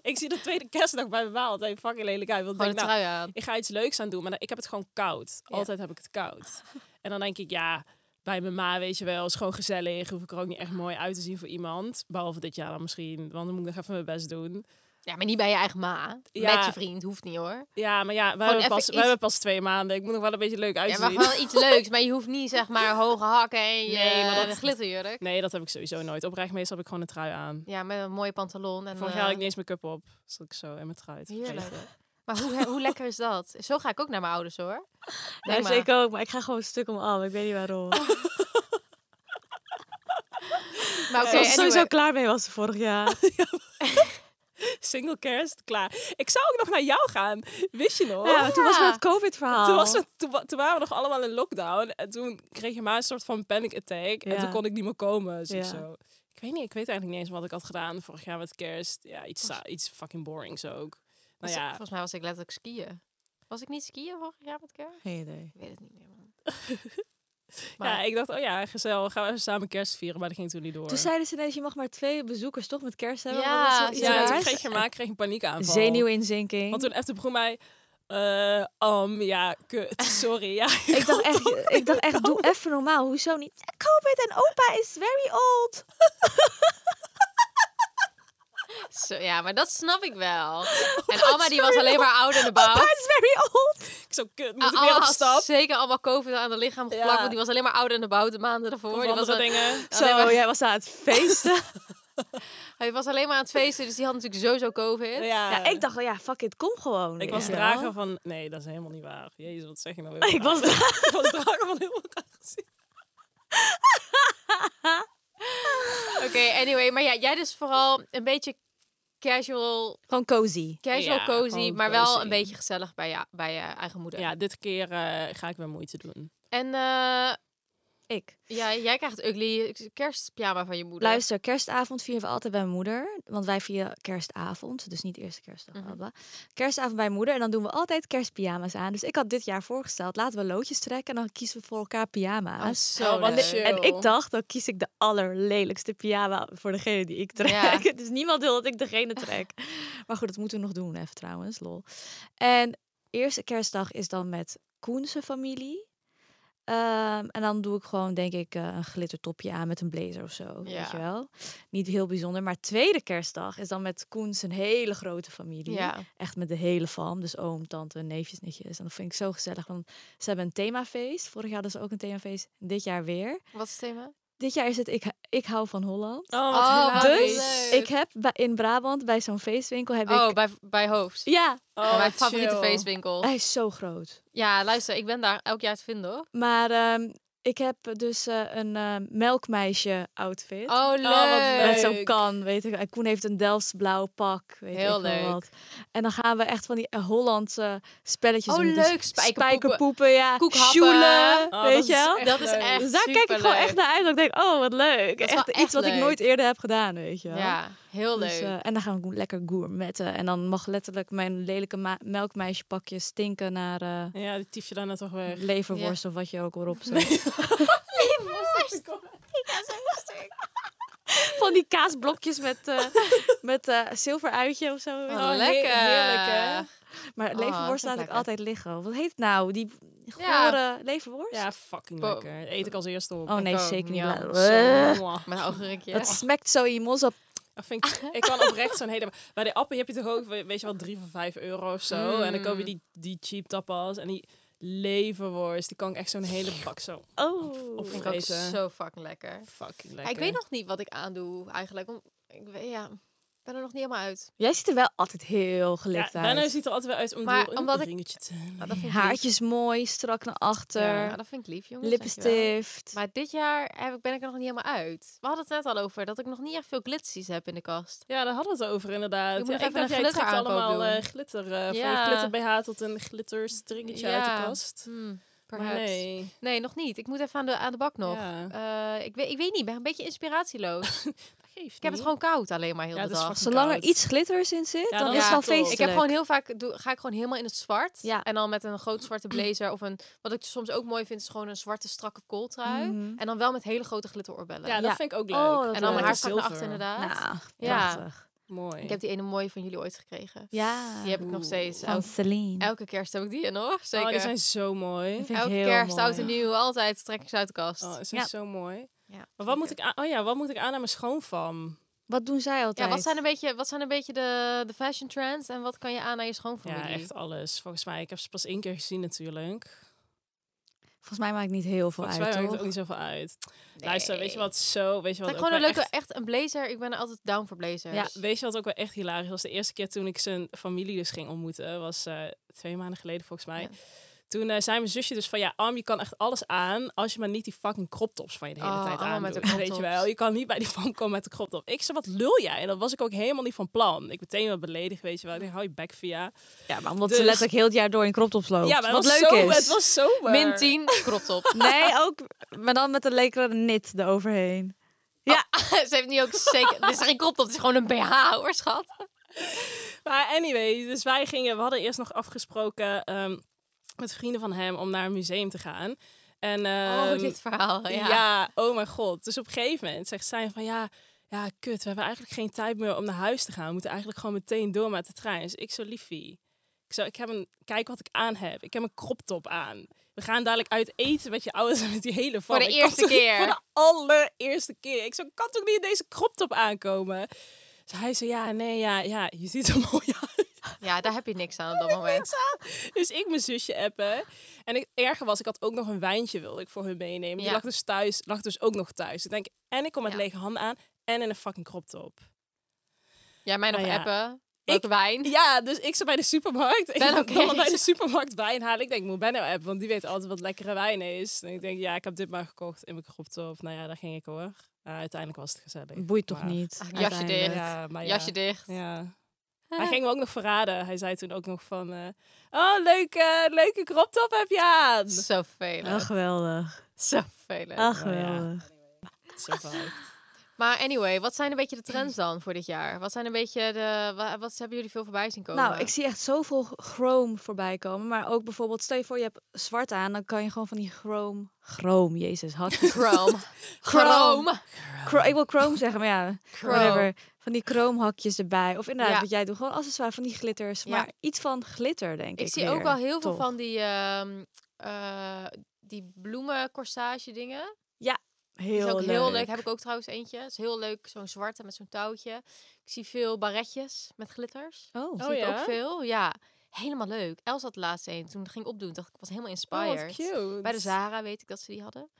ik zie de tweede kerstdag bij me wel altijd fucking lelijk uit. Want ik
Gewoon
denk,
een
nou,
trui aan.
ik ga iets leuks aan doen, maar dan- ik heb het gewoon koud.
Ja.
Altijd heb ik het koud. En dan denk ik, ja, bij mijn ma weet je wel, is gewoon gezellig. Hoef ik er ook niet echt mooi uit te zien voor iemand. Behalve dit jaar dan misschien, want dan moet ik nog even mijn best doen.
Ja, maar niet bij je eigen ma.
Ja.
Met je vriend, hoeft niet hoor.
Ja, maar ja, we,
even
hebben pas,
iets-
we hebben pas twee maanden. Ik moet nog wel een beetje leuk
Ja,
uitzien.
maar wel iets leuks, maar je hoeft niet zeg maar hoge hakken en je
Nee, maar dat-
een glitterjurk.
Nee, dat heb ik sowieso nooit. Oprecht, meestal heb ik gewoon een trui aan.
Ja, met een mooie pantalon. En,
Vorig
eh,
jaar had ik niet eens make-up op. Zat ik zo in mijn trui. te
Heerlijk.
vreten.
Maar hoe, hoe lekker is dat? Zo ga ik ook naar mijn ouders hoor.
Ja,
Denk
dus
maar.
ik ook, maar ik ga gewoon een stuk om af. Ik weet niet waarom.
Oh,
Maar
ik
oké,
was
anyway.
sowieso klaar mee was ze vorig jaar.
Oh. Single kerst, klaar. Ik zou ook nog naar jou gaan. Wist je nog?
Ja, maar toen was
Ja. Oh.
wel het COVID-verhaal.
Oh. Toen, was het, toen, wa- toen waren we nog allemaal in lockdown. En toen kreeg je maar een soort van panic attack. En
Ja.
toen kon ik niet meer komen. Dus ik
Ja.
zo. Ik weet niet, ik weet eigenlijk niet eens wat ik had gedaan vorig jaar met kerst. Ja, iets, sa- iets fucking borings ook. Nou
Was-
ja,
Volgens mij was ik letterlijk skiën. Was ik niet skiën vorig jaar met kerst?
Geen idee.
Ik weet het niet meer, man.
ja,
Maar-
ik dacht, oh ja, gezellig. Gaan we even samen kerst vieren. Maar dat ging toen niet door.
Toen zeiden ze ineens, je mag maar twee bezoekers toch met kerst hebben?
Ja,
want dat is wel iets
ja, toen
raars.
kreeg je maar kreeg een paniekaanval.
Zenuwinzinking.
Want toen de broer mij... eh um, ja, kut, sorry. Ja,
Ik dacht echt, ik dacht echt doe even normaal. Hoezo niet? Ja, COVID en opa is very old.
Zo, ja, maar dat snap ik wel.
Oh,
en Alma die was alleen maar oud en de bouw.
Opa is very old.
ik zo, kut, moet Oh, ik
Alma
weer op
had
stap?
zeker allemaal COVID aan de lichaam geplakt,
Ja.
want die was alleen maar oud en de bouw de maanden daarvoor.
Of
Die was,
andere
al-
dingen.
alleen maar-
Zo, jij was aan het feesten.
hij was alleen maar aan het feesten, dus die had natuurlijk sowieso COVID.
Ja.
Ja, ik dacht wel, ja, fuck it, kom gewoon.
Ik
weet
was
je wel.
drager van... Nee, dat is helemaal niet waar. Jezus, wat zeg je nou weer?
Ik was
ik was drager van heel veel aangezien.
Oké, anyway, maar ja, jij dus vooral een beetje casual,
Gewoon cozy.
casual
Ja,
cozy,
gewoon
maar wel
cozy.
een beetje gezellig bij je, bij je eigen moeder.
Ja, dit keer eh, ga ik mijn moeite doen.
En eh,
Ik.
ja, jij krijgt ugly kerstpyjama van je moeder.
Luister, kerstavond vieren we altijd bij mijn moeder. Want wij vieren kerstavond, dus niet eerste kerstdag. bla,
Mhm.
bla. Kerstavond bij mijn moeder en dan doen we altijd kerstpyjama's aan. Dus ik had dit jaar voorgesteld, laten we loodjes trekken en dan kiezen we voor elkaar pyjama's.
Oh, zo
Oh, wat
leuk.
chill.
ah, En ik dacht, dan kies ik de allerlelijkste pyjama voor degene die ik trek. dus niemand wil dat ik degene trek. maar goed, dat moeten we nog doen even trouwens, lol. En eerste kerstdag is dan met Koense familie. Ehm, en dan doe ik gewoon, denk ik, eh, een glittertopje aan met een blazer of zo. Weet
Ja.
je wel? Niet heel bijzonder. Maar tweede kerstdag is dan met Koens een hele grote familie.
Ja.
Echt met de hele fam. Dus oom, tante, neefjes, nichtjes. En dat vind ik zo gezellig. Want ze hebben een themafeest. Vorig jaar hadden ze ook een themafeest. Dit jaar weer.
Wat is het thema?
Dit jaar is het Ik, ik hou van Holland.
Oh,
Oh, wat
dus
leuk.
ik heb bij, in Brabant bij zo'n feestwinkel heb
Oh,
ik...
bij, bij Hoofd.
Ja,
Oh, mijn favoriete feestwinkel.
hij is zo groot.
Ja, luister, ik ben daar elk jaar te vinden hoor.
Maar ehm, ik heb dus eh, een ehm, melkmeisje outfit.
Oh, leuk.
Met zo'n kan, weet ik. En Koen heeft een Delfts blauw pak. Weet
Heel
ik wel
leuk.
Wat. En dan gaan we echt van die eh, Hollandse spelletjes
Oh,
doen. Dus
leuk, spijkerpoepen.
spijkerpoepen, ja.
Koekhappen.
Sjoelen,
Oh,
weet
dat
je
is
wel.
echt
Dat is
leuk.
echt
Dus daar kijk ik gewoon
superleuk.
echt naar uit. Dat ik denk, oh, wat leuk.
Dat is
Echt,
wel echt
iets wat ik
leuk.
nooit eerder heb gedaan, weet je wel.
Ja, heel leuk.
Dus, eh, en dan gaan we go- lekker gourmetten. En dan mag letterlijk mijn lelijke ma- melkmeisjepakje stinken naar eh,
Ja, die tief je dan net toch
Hm.
weg.
leverworst of wat je ook erop zet. Van die kaasblokjes met, eh met eh, zilveruitje of zo.
Oh,
weet je wel.
lekker.
heerlijk, hè?
Oh, vind
Maar
ik
leverworst laat ik
lekker.
altijd liggen. Wat heet het nou? Die gore
Ja.
leverworst?
Ja, fucking
Bo-
lekker. Eet ik als eerste op.
oh nee,
ook.
zeker niet.
Miauw.
Bla-
Zo,
Ugh.
mwah.
Met een ogenrikje.
Dat smaakt zo in je mond. op.
Dat vind ik, ik kan oprecht zo'n hele... Bij de appen heb je toch ook, we- weet je wel, drie voor vijf euro of zo. En dan koop
Hmm.
je die, die cheap tapas en die leverworst. Die kan ik echt zo'n hele bak zo
Oh.
Of-
vind ik ook
eten.
zo fucking lekker.
fucking
Ja,
lekker.
ik weet nog niet wat ik aandoe eigenlijk. om- ik weet, ja, ik ben er nog niet helemaal uit.
Jij ziet er wel altijd heel gelikt
Ja, Benno
uit.
ziet er altijd wel uit om
Maar
door een
omdat ik-
ringetje te hebben.
Maar
Nou,
dat vind ik lief.
Haartjes mooi, strak naar achter.
Ja, dat vind ik lief, jongens. dankjewel.
Lippenstift.
Maar dit jaar heb ik, ben ik er nog niet helemaal uit. We hadden het net al over dat ik nog niet echt veel glitsies heb in de kast.
Ja, daar hadden we het over inderdaad.
Ik moet nog
Ja,
even
dacht,
een
jij trekt
glitteraankoop
allemaal
doen.
eh, glitter. eh,
Ja.
Van een glitter BH tot een glitter stringetje uit
Ja.
de kast.
Hmm,
Maar
perhaps. nee.
nee.
nog niet. Ik moet even aan de, aan de bak nog.
Ja.
Eh, ik, weet, ik weet niet, ik ben een beetje inspiratieloos.
Geeft
ik heb het
niet.
gewoon koud alleen maar heel
Ja,
de
dat is
dag.
fucking
Zolang er
koud.
iets glitters in zit,
Ja,
dan
dat
is
is
het al
top. Ik heb
feestelijk.
Ik heb gewoon heel vaak, doe, ga ik gewoon helemaal in het zwart.
Ja.
En dan met een groot zwarte blazer. Of een, wat ik soms ook mooi vind, is gewoon een zwarte strakke kooltrui.
Mhm.
En dan wel met hele grote glitterorbellen.
Mm. Ja, dat
Ja.
vind ik ook leuk.
Oh, dat
en dan mijn
leuk.
haar strak naar
Zilver.
achter inderdaad.
Nou,
Ja.
prachtig.
Mooi. Oh,
Ik heb die ene mooie van jullie ooit gekregen.
Ja.
Die heb ik nog steeds.
Van
Elke,
Celine.
elke kerst heb ik die in hoor. Zeker.
Oh, die zijn zo mooi.
Dat vind ik
elke
heel
kerst,
mooi.
oud en nieuw, altijd trek ik ze uit de kast.
Oh, die zijn
Ja.
zo mooi.
ja,
Maar wat moet ik aan? Oh ja, wat moet ik aan aan mijn schoonfam?
Wat doen zij altijd?
ja, wat zijn een beetje, wat zijn een beetje de, de fashion trends en wat kan je aan naar je
Ja,
schoonfamilie?
echt alles. Volgens mij, ik heb ze pas één keer gezien natuurlijk.
Volgens mij maakt niet heel veel
Volgens mij
uit,
maakt
toch?
het ook niet zoveel uit. Luister, weet je wat zo, weet je
Trek
wat
gewoon
ook wel
een leuke,
echt-
echt... een blazer. Ik ben altijd down voor blazers.
Ja.
Weet je wat ook wel echt hilarisch was? De eerste keer toen ik zijn familie dus ging ontmoeten, was eh, twee maanden geleden volgens mij.
Ja.
Toen eh, zei mijn zusje dus van, ja, Arm, je kan echt alles aan als je maar niet die fucking crop tops van je de hele
Oh,
tijd
allemaal
aan
met
doet.
de crop
Weet je
tops.
wel, je kan niet bij die van komen met de crop top. Ik zei, wat lul jij? En dat was ik ook helemaal niet van plan. Ik meteen wel beledigd, weet je wel. Ik dacht, hou je bek via.
Ja, maar omdat ze
Dus-
letterlijk heel het jaar door in crop loopt.
Ja, maar het
wat
was
leuk
zomer,
is.
Het was zomer.
Min 10, kropt op.
Nee, ook... Maar dan met een lekkere knit eroverheen.
Ja, ze heeft niet ook zeker. Dit is geen krop top, het is gewoon een BH hoor, schat.
Maar anyway, dus wij gingen, we hadden eerst nog afgesproken ehm, met vrienden van hem om naar een museum te gaan. En,
oh,
ehm,
dit verhaal. Ja.
ja. oh mijn god. Dus op een gegeven moment zegt zij van ja, ja, kut, we hebben eigenlijk geen tijd meer om naar huis te gaan. We moeten eigenlijk gewoon meteen door met de trein. Dus ik zo liefie. Ik zo, ik heb een, kijk wat ik aan heb. Ik heb een crop top aan. We gaan dadelijk uit eten met je ouders en met die hele
Voor de
familie. Ik kan
eerste
toch niet-
keer.
Voor de allereerste keer. Ik zo, ik kan toch niet in deze crop top aankomen? Dus hij zei, ja, nee, ja, ja, je ziet er mooi uit.
ja, daar heb je niks aan op dat moment.
Dus ik mijn zusje appen. En ik, erger was, ik had ook nog een wijntje wilde ik voor hun meenemen. Die
Ja.
lag dus thuis, lag dus ook nog thuis. Ik denk, en ik kom met
Ja.
lege handen aan en in een fucking crop top.
Jij mij nog
Nou ja.
appen. Welke wijn?
Ja, dus ik zat bij de supermarkt. Ik ben
Benno keek.
bij de supermarkt wijn halen. Ik denk, ik moet Benno appen, want die weet altijd wat lekkere wijn is. En ik denk, ja, ik heb dit maar gekocht in mijn crop top. Nou ja, daar ging ik hoor. Maar uiteindelijk was het gezellig.
Boeit toch
Maar-
niet.
Ach, jasje
uiteindelijk.
dicht.
Ja, maar ja.
Jasje Ah. dicht.
Ja. Hij ging me ook nog verraden. Hij zei toen ook nog van... eh, oh, leuke, leuke crop top heb je aan.
Zo vervelend.
Ach, geweldig.
Zo vervelend.
Ach,
Nou ja.
geweldig.
Zo vaak.
Maar anyway, wat zijn een beetje de trends dan voor dit jaar? Wat zijn een beetje de... wa- Wat, hebben jullie veel voorbij zien komen?
Nou, ik zie echt zoveel chrome voorbij komen. Maar ook bijvoorbeeld, stel je voor je hebt zwart aan. Dan kan je gewoon van die chrome... Chrome, jezus. Had
Chrome. Chrome.
Chro- ik wil chrome zeggen, maar ja,
Chrome.
whatever. Van die chromehakjes erbij. Of inderdaad,
Ja.
wat jij doet, gewoon accessoire van die glitters.
Ja.
Maar iets van glitter, denk ik.
Ik zie
weer,
ook wel heel veel
toch?
van die, ehm eh die bloemencorsage dingen.
Heel,
is ook
leuk.
heel leuk. Heb ik ook trouwens eentje. Is heel leuk, zo'n zwarte met zo'n touwtje. Ik zie veel baretjes met glitters.
Oh,
zie ik
ja?
ook veel. Ja, helemaal leuk. Els had laatst een. Toen ging ik opdoen, dacht ik, was helemaal
Oh,
inspired.
wat cute.
Bij de Zara weet ik dat ze die hadden.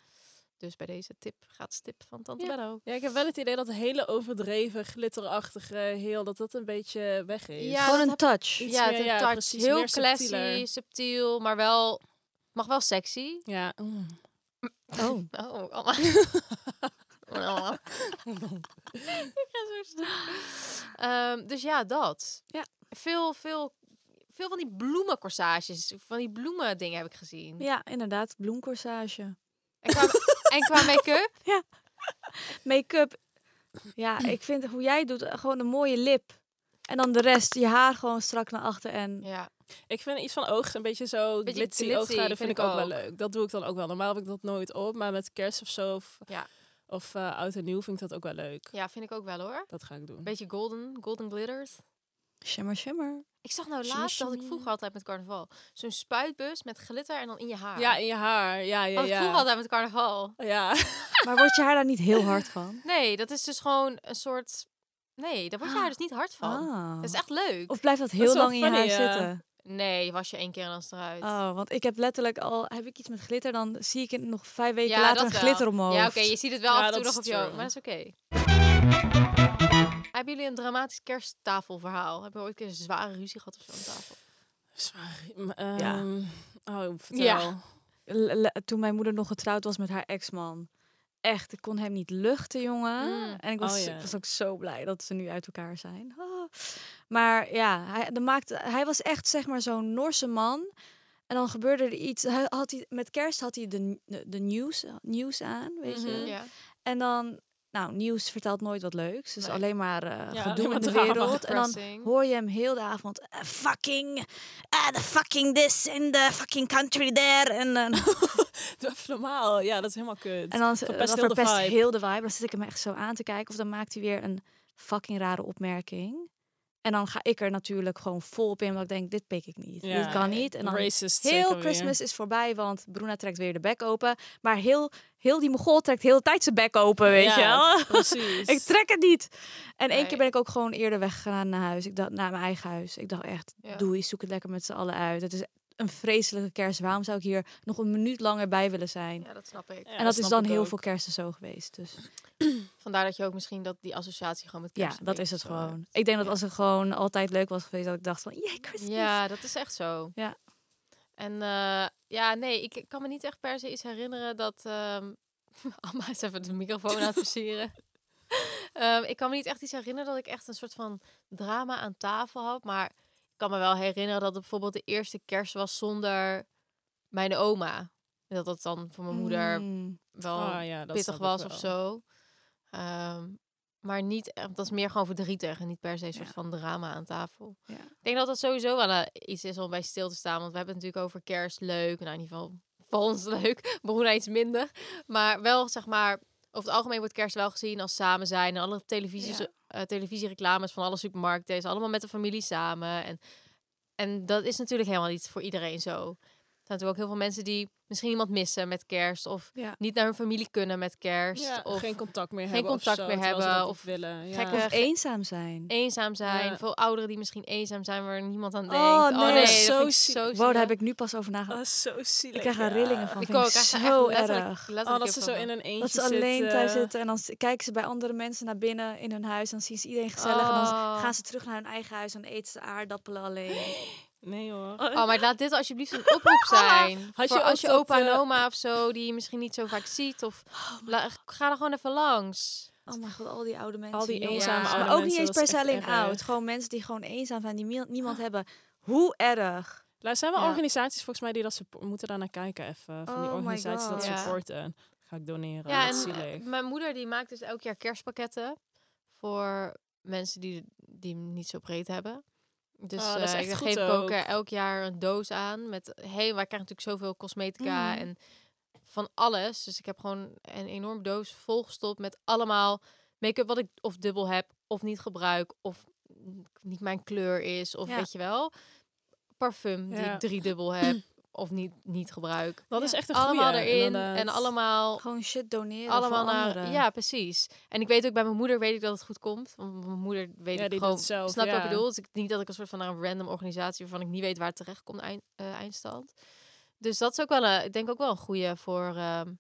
Dus bij deze tip, gratis tip van Tante
Ja.
Bello.
Ja, ik heb wel het idee dat het hele overdreven, glitterachtige heel... dat dat een beetje weg is.
Ja,
gewoon
dat
een
heb-
touch.
Iets
ja,
meer-
het
ja,
touch.
precies,
heel
meer
classy,
subtieler.
subtiel, maar wel... Mag wel sexy.
Ja. Mm.
Oh.
Oh, allemaal. allemaal. ik ga zo stuk. Ehm, dus ja, dat.
Ja.
Veel, veel, veel van die bloemencorsages, van die bloemendingen heb ik gezien.
Ja, inderdaad, bloemcorsage.
En qua, en qua make-up?
Make-up. Ja, ik vind hoe jij het doet, eh, gewoon een mooie lip. En dan de rest, je haar gewoon strak naar achter en...
Ja.
Ik vind iets van oog een beetje zo
Beetje
glitzy,
glitzy,
oogschaduw vind,
vind
ik
ik
ook, wel
ook.
leuk. Dat doe ik dan ook wel. Normaal heb ik dat nooit op, maar met kerst of zo of,
Ja.
of eh, oud en nieuw vind ik dat ook wel leuk.
ja, vind ik ook wel hoor.
Dat ga ik doen.
Beetje golden, golden glitters.
Shimmer, shimmer.
Ik zag nou
Shimmy,
laatst, dat ik
shimmy.
vroeger altijd met carnaval, zo'n spuitbus met glitter en dan in je haar.
Ja, in je haar. Ja, ja,
Dat ik vroeger
ja.
altijd met carnaval.
Ja,
Maar wordt je haar daar niet heel hard van?
Nee, dat is dus gewoon een soort... Nee, daar word je haar dus niet hard van.
Ah.
Dat is echt leuk.
Of blijft dat heel
is wel
lang in je haar
funny, ja.
zitten?
Nee, was je één keer en dan is het eruit.
Oh, want ik heb letterlijk al, heb ik iets met glitter, dan zie ik het nog vijf weken
Ja,
later
dat
een
wel.
glitter om mijn
Ja, oké,
hoofd.
je ziet het wel
Ja,
af en toe
dat
nog
is
op jou,
true.
maar dat is oké. Hebben jullie een dramatisch kersttafelverhaal? Hebben we ooit een keer een zware ruzie gehad op zo'n tafel?
Zwaar.
Ja.
ja. ehm, Oh, vertel.
Ja.
L- l- Toen mijn moeder nog getrouwd was met haar ex-man. Echt, ik kon hem niet luchten, jongen.
Mm.
En ik was,
Oh, ja.
was ook zo blij dat ze nu uit elkaar zijn. Ah. Maar ja, hij, dat maakte, hij was echt zeg maar zo'n Noorse man. En dan gebeurde er iets. Hij had hij, met kerst had hij de, de, de nieuws, nieuws aan, weet je.
Mhm.
Ja.
En dan, nou, nieuws vertelt nooit wat leuks. Dus
Nee.
alleen maar eh
Ja, alleen
gedoe
maar
in de
drama.
wereld. En dan
Depressing.
hoor je hem heel de avond eh, fucking, eh, the fucking this in the fucking country there. En, dan-
Doe even normaal. Ja, dat is helemaal kut.
en dan
Verpest
verpest,
heel de
verpest
vibe.
heel de vibe. Dan zit ik hem echt zo aan te kijken. Of dan maakt hij weer een fucking rare opmerking. En dan ga ik er natuurlijk gewoon vol op in. Want ik denk, dit pik ik niet.
Ja.
Dit kan niet. En dan
Racist. zeker
heel
weer.
Christmas is voorbij. Want Bruna trekt weer de bek open. Maar heel, heel die mogol trekt heel de tijd zijn bek open, weet
Ja,
je wel.
Precies.
Ik trek het niet. En één
Dus Nee.
keer ben ik ook gewoon eerder weggegaan naar huis. Ik dacht naar mijn eigen huis. Ik dacht echt,
Ja.
doei, zoek het lekker met z'n allen uit. Het is een vreselijke kerst. Waarom zou ik hier nog een minuut langer bij willen zijn?
ja, dat snap ik.
Ja,
en dat is
snap
dan
ik
heel
ook.
veel kersten zo geweest. Dus
Vandaar dat je ook misschien dat die associatie gewoon met
ja,
kerst... een
dat is
beetje
het
zo
gewoon.
hebt.
Ik denk dat
Ja.
als het gewoon altijd leuk was geweest, dat ik dacht van, yay, Christmas.
Ja, dat is echt zo.
Ja.
En eh, ja, nee, ik kan me niet echt per se iets herinneren dat... ehm Amma is even de microfoon aan het versieren. Ehm, ik kan me niet echt iets herinneren dat ik echt een soort van drama aan tafel had. Maar ik kan me wel herinneren dat het bijvoorbeeld de eerste kerst was zonder mijn oma. En dat dat dan voor mijn moeder
Mm.
Oh, wel
Ah, ja, dat snap
pittig
ik
was
wel.
of zo. Ehm, maar niet, echt- dat is meer gewoon verdrietig en niet per se een soort
Ja.
van drama aan tafel.
Ja.
Ik denk dat dat sowieso wel eh, iets is om bij stil te staan. Want we hebben het natuurlijk over kerst leuk. Nou, in ieder geval voor ons leuk. Bruna iets minder. Maar wel, zeg maar, over het algemeen wordt kerst wel gezien als samen zijn. En alle televisies,
Ja.
eh, televisiereclames van alle supermarkten is allemaal met de familie samen. En, en dat is natuurlijk helemaal niet voor iedereen zo. Er zijn natuurlijk ook heel veel mensen die misschien iemand missen met kerst. Of
Ja.
niet naar hun familie kunnen met kerst.
Ja,
of
geen contact meer
geen
hebben. of
contact
zo,
meer
terwijl ze
hebben,
dat
of
willen. Ja.
gekke-
Of eenzaam zijn.
eenzaam zijn.
Ja.
Veel ouderen die misschien eenzaam zijn waar niemand aan denkt.
Oh, nee,
dat
zo
vind ik
ziek.
zo
Wow, daar
zielig.
heb ik nu pas over nagedacht.
Ah, Oh, zo zielig.
ik krijg er
ja.
rillingen van.
Oh, Ik
Vind
ook.
ik
Echt
zo
letterlijk-
erg.
Oh,
letterlijk
dat ze zo
heel
in een eentje
Dat ze alleen thuis
zitten.
zitten en dan s- kijken ze bij andere mensen naar binnen in hun huis. Dan zien ze iedereen gezellig en dan s-
Oh.
gaan ze terug naar hun eigen huis en eten ze aardappelen alleen.
Nee hoor.
Oh, maar laat dit alsjeblieft een oproep zijn.
Had je
Voor
ook
als je
dat,
opa en
eh, Oh,
oma of zo, die je misschien niet zo vaak ziet. Of la- ga er gewoon even langs.
Oh mijn god, al die oude mensen.
Al die
joh.
eenzame
Ja.
oude
Maar ook niet
mensen,
eens
dat is
per se
echt
alleen
erg.
oud. Gewoon mensen die gewoon eenzaam zijn, die mie- niemand hebben. Hoe erg.
Laat zijn wel
Ja.
organisaties volgens mij die dat support, moeten daar naar kijken even. Van die
Oh my
organisaties dat
God.
Ja.
supporten. Ga ik doneren.
ja,
dat is
en
Oh, zielig.
eh, mijn moeder die maakt dus elk jaar kerstpakketten voor mensen die, die hem niet zo breed hebben. Dus
Oh, dat is
eh,
echt
ik
goed
geef ik ook
ook.
eh, elk jaar een doos aan met hey, wij krijgen natuurlijk zoveel cosmetica
Mm.
Mhm.
en van alles. Dus ik heb gewoon een enorme doos volgestopt met allemaal make-up wat ik of dubbel heb of niet gebruik of n- niet mijn kleur is of
Ja.
weet je wel parfum die
Ja.
ik drie dubbel heb of niet niet gebruik.
dat is echt een goede.
allemaal erin
eh,
en allemaal
Gewoon shit doneren
allemaal
voor
naar.
anderen.
Ja, precies. En ik weet ook bij mijn moeder weet ik dat het goed komt. Want mijn moeder weet
Ja,
ik
die
gewoon.
doet zelf,
snap je wat
ja.
ik bedoel? Dus ik, niet dat ik een soort van naar een random organisatie waarvan ik niet weet waar het terecht komt eind, eh, eindstand. Dus dat is ook wel een, ik denk ook wel een goede voor. ehm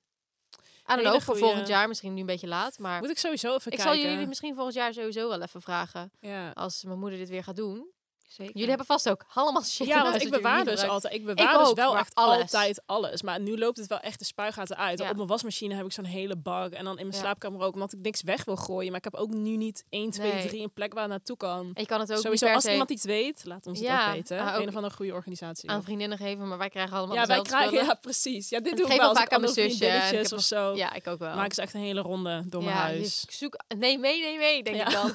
I don't
Hele
know, voor
goeie.
volgend jaar misschien nu een beetje laat, maar
Moet ik sowieso even
ik
kijken.
zal jullie misschien volgend jaar sowieso wel even vragen
Ja.
als mijn moeder dit weer gaat doen.
Zeker.
Jullie hebben vast ook allemaal shit. in
Ja, want
huis
ik
dat jullie
bewaar
niet
dus
gebruiken.
altijd. Ik bewaar dus
ook,
wel
maar
echt
alles.
altijd alles. Maar nu loopt het wel echt de spuigaten uit.
Ja.
Op mijn wasmachine heb ik zo'n hele bak. En dan in mijn
Ja.
slaapkamer ook, omdat ik niks weg wil gooien. Maar ik heb ook nu niet 1, 2,
Nee.
3 een plek waar het naartoe kan.
En je kan het ook niet
Sowieso,
per
als
se
iemand iets weet, laat ons het
Ja,
ook weten.
ah, ook-
een of andere goede organisatie.
aan vriendinnen geven, maar wij krijgen allemaal
ja, wij
dezelfde
krijgen,
spullen.
ja, precies. Ja, dit
Ik
doe ik
geef
wel
hem
als ik
vaak aan mijn
andere
zusje en ik
vriendinnetjes
heb
of zo.
Ja, ik ook wel.
Maken ze echt een hele ronde door mijn
je
huis.
zoek, nee, mee, nee, mee, denk
Ja.
ik dan.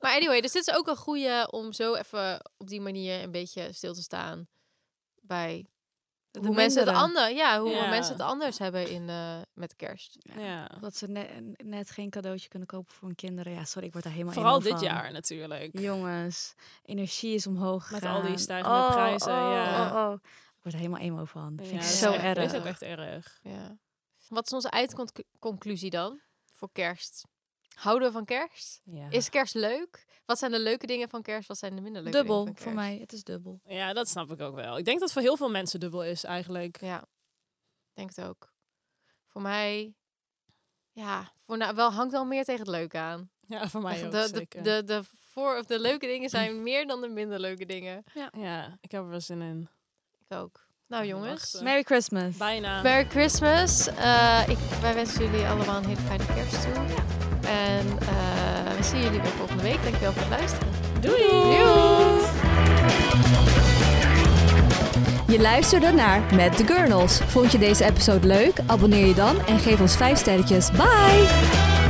maar anyway, dus dit is ook een goede om zo even op die manier een beetje stil te staan bij
De
hoe mensen het
minderen.
ander, ja, hoe
Ja.
mensen het anders hebben in eh, met kerst.
Ja.
Dat ze ne- net geen cadeautje kunnen kopen voor hun kinderen. Ja, sorry, ik word daar helemaal
Vooral dit
eenmaal van.
jaar natuurlijk.
Jongens, energie is omhoog
Met
gegaan.
al die stijgende prijzen, ja.
Oh, oh. Ik word er helemaal emo van.
Ja,
Vind ik
dat is
zo
echt-
erg.
Dat is ook echt erg.
Ja. Wat is onze eindconclusie dan voor kerst? Houden we van kerst?
Ja.
Is kerst leuk? Wat zijn de leuke dingen van kerst? Wat zijn de minder leuke
dubbel
dingen van
voor
kerst?
mij. Het is dubbel.
ja, dat snap ik ook wel. Ik denk dat het voor heel veel mensen dubbel is eigenlijk.
Ja, ik denk het ook. Voor mij, ja, voor nou, wel hangt wel meer tegen het leuke aan.
Ja, voor mij
Echt,
ook
de, de,
zeker.
de, de, voor, of de leuke dingen zijn meer dan de minder leuke dingen.
Ja, ik heb er wel zin in.
Ik ook. Nou
Ja,
jongens,
wachten.
Merry Christmas.
Bijna.
Merry Christmas. Eh, ik, wij wensen jullie allemaal een hele fijne kerst toe. En eh, we zien jullie weer volgende week. Dankjewel voor het luisteren. Doei!
Je luisterde naar Met de Gurnals. Vond je deze episode leuk? Abonneer je dan en geef ons 5 sterretjes. Bye!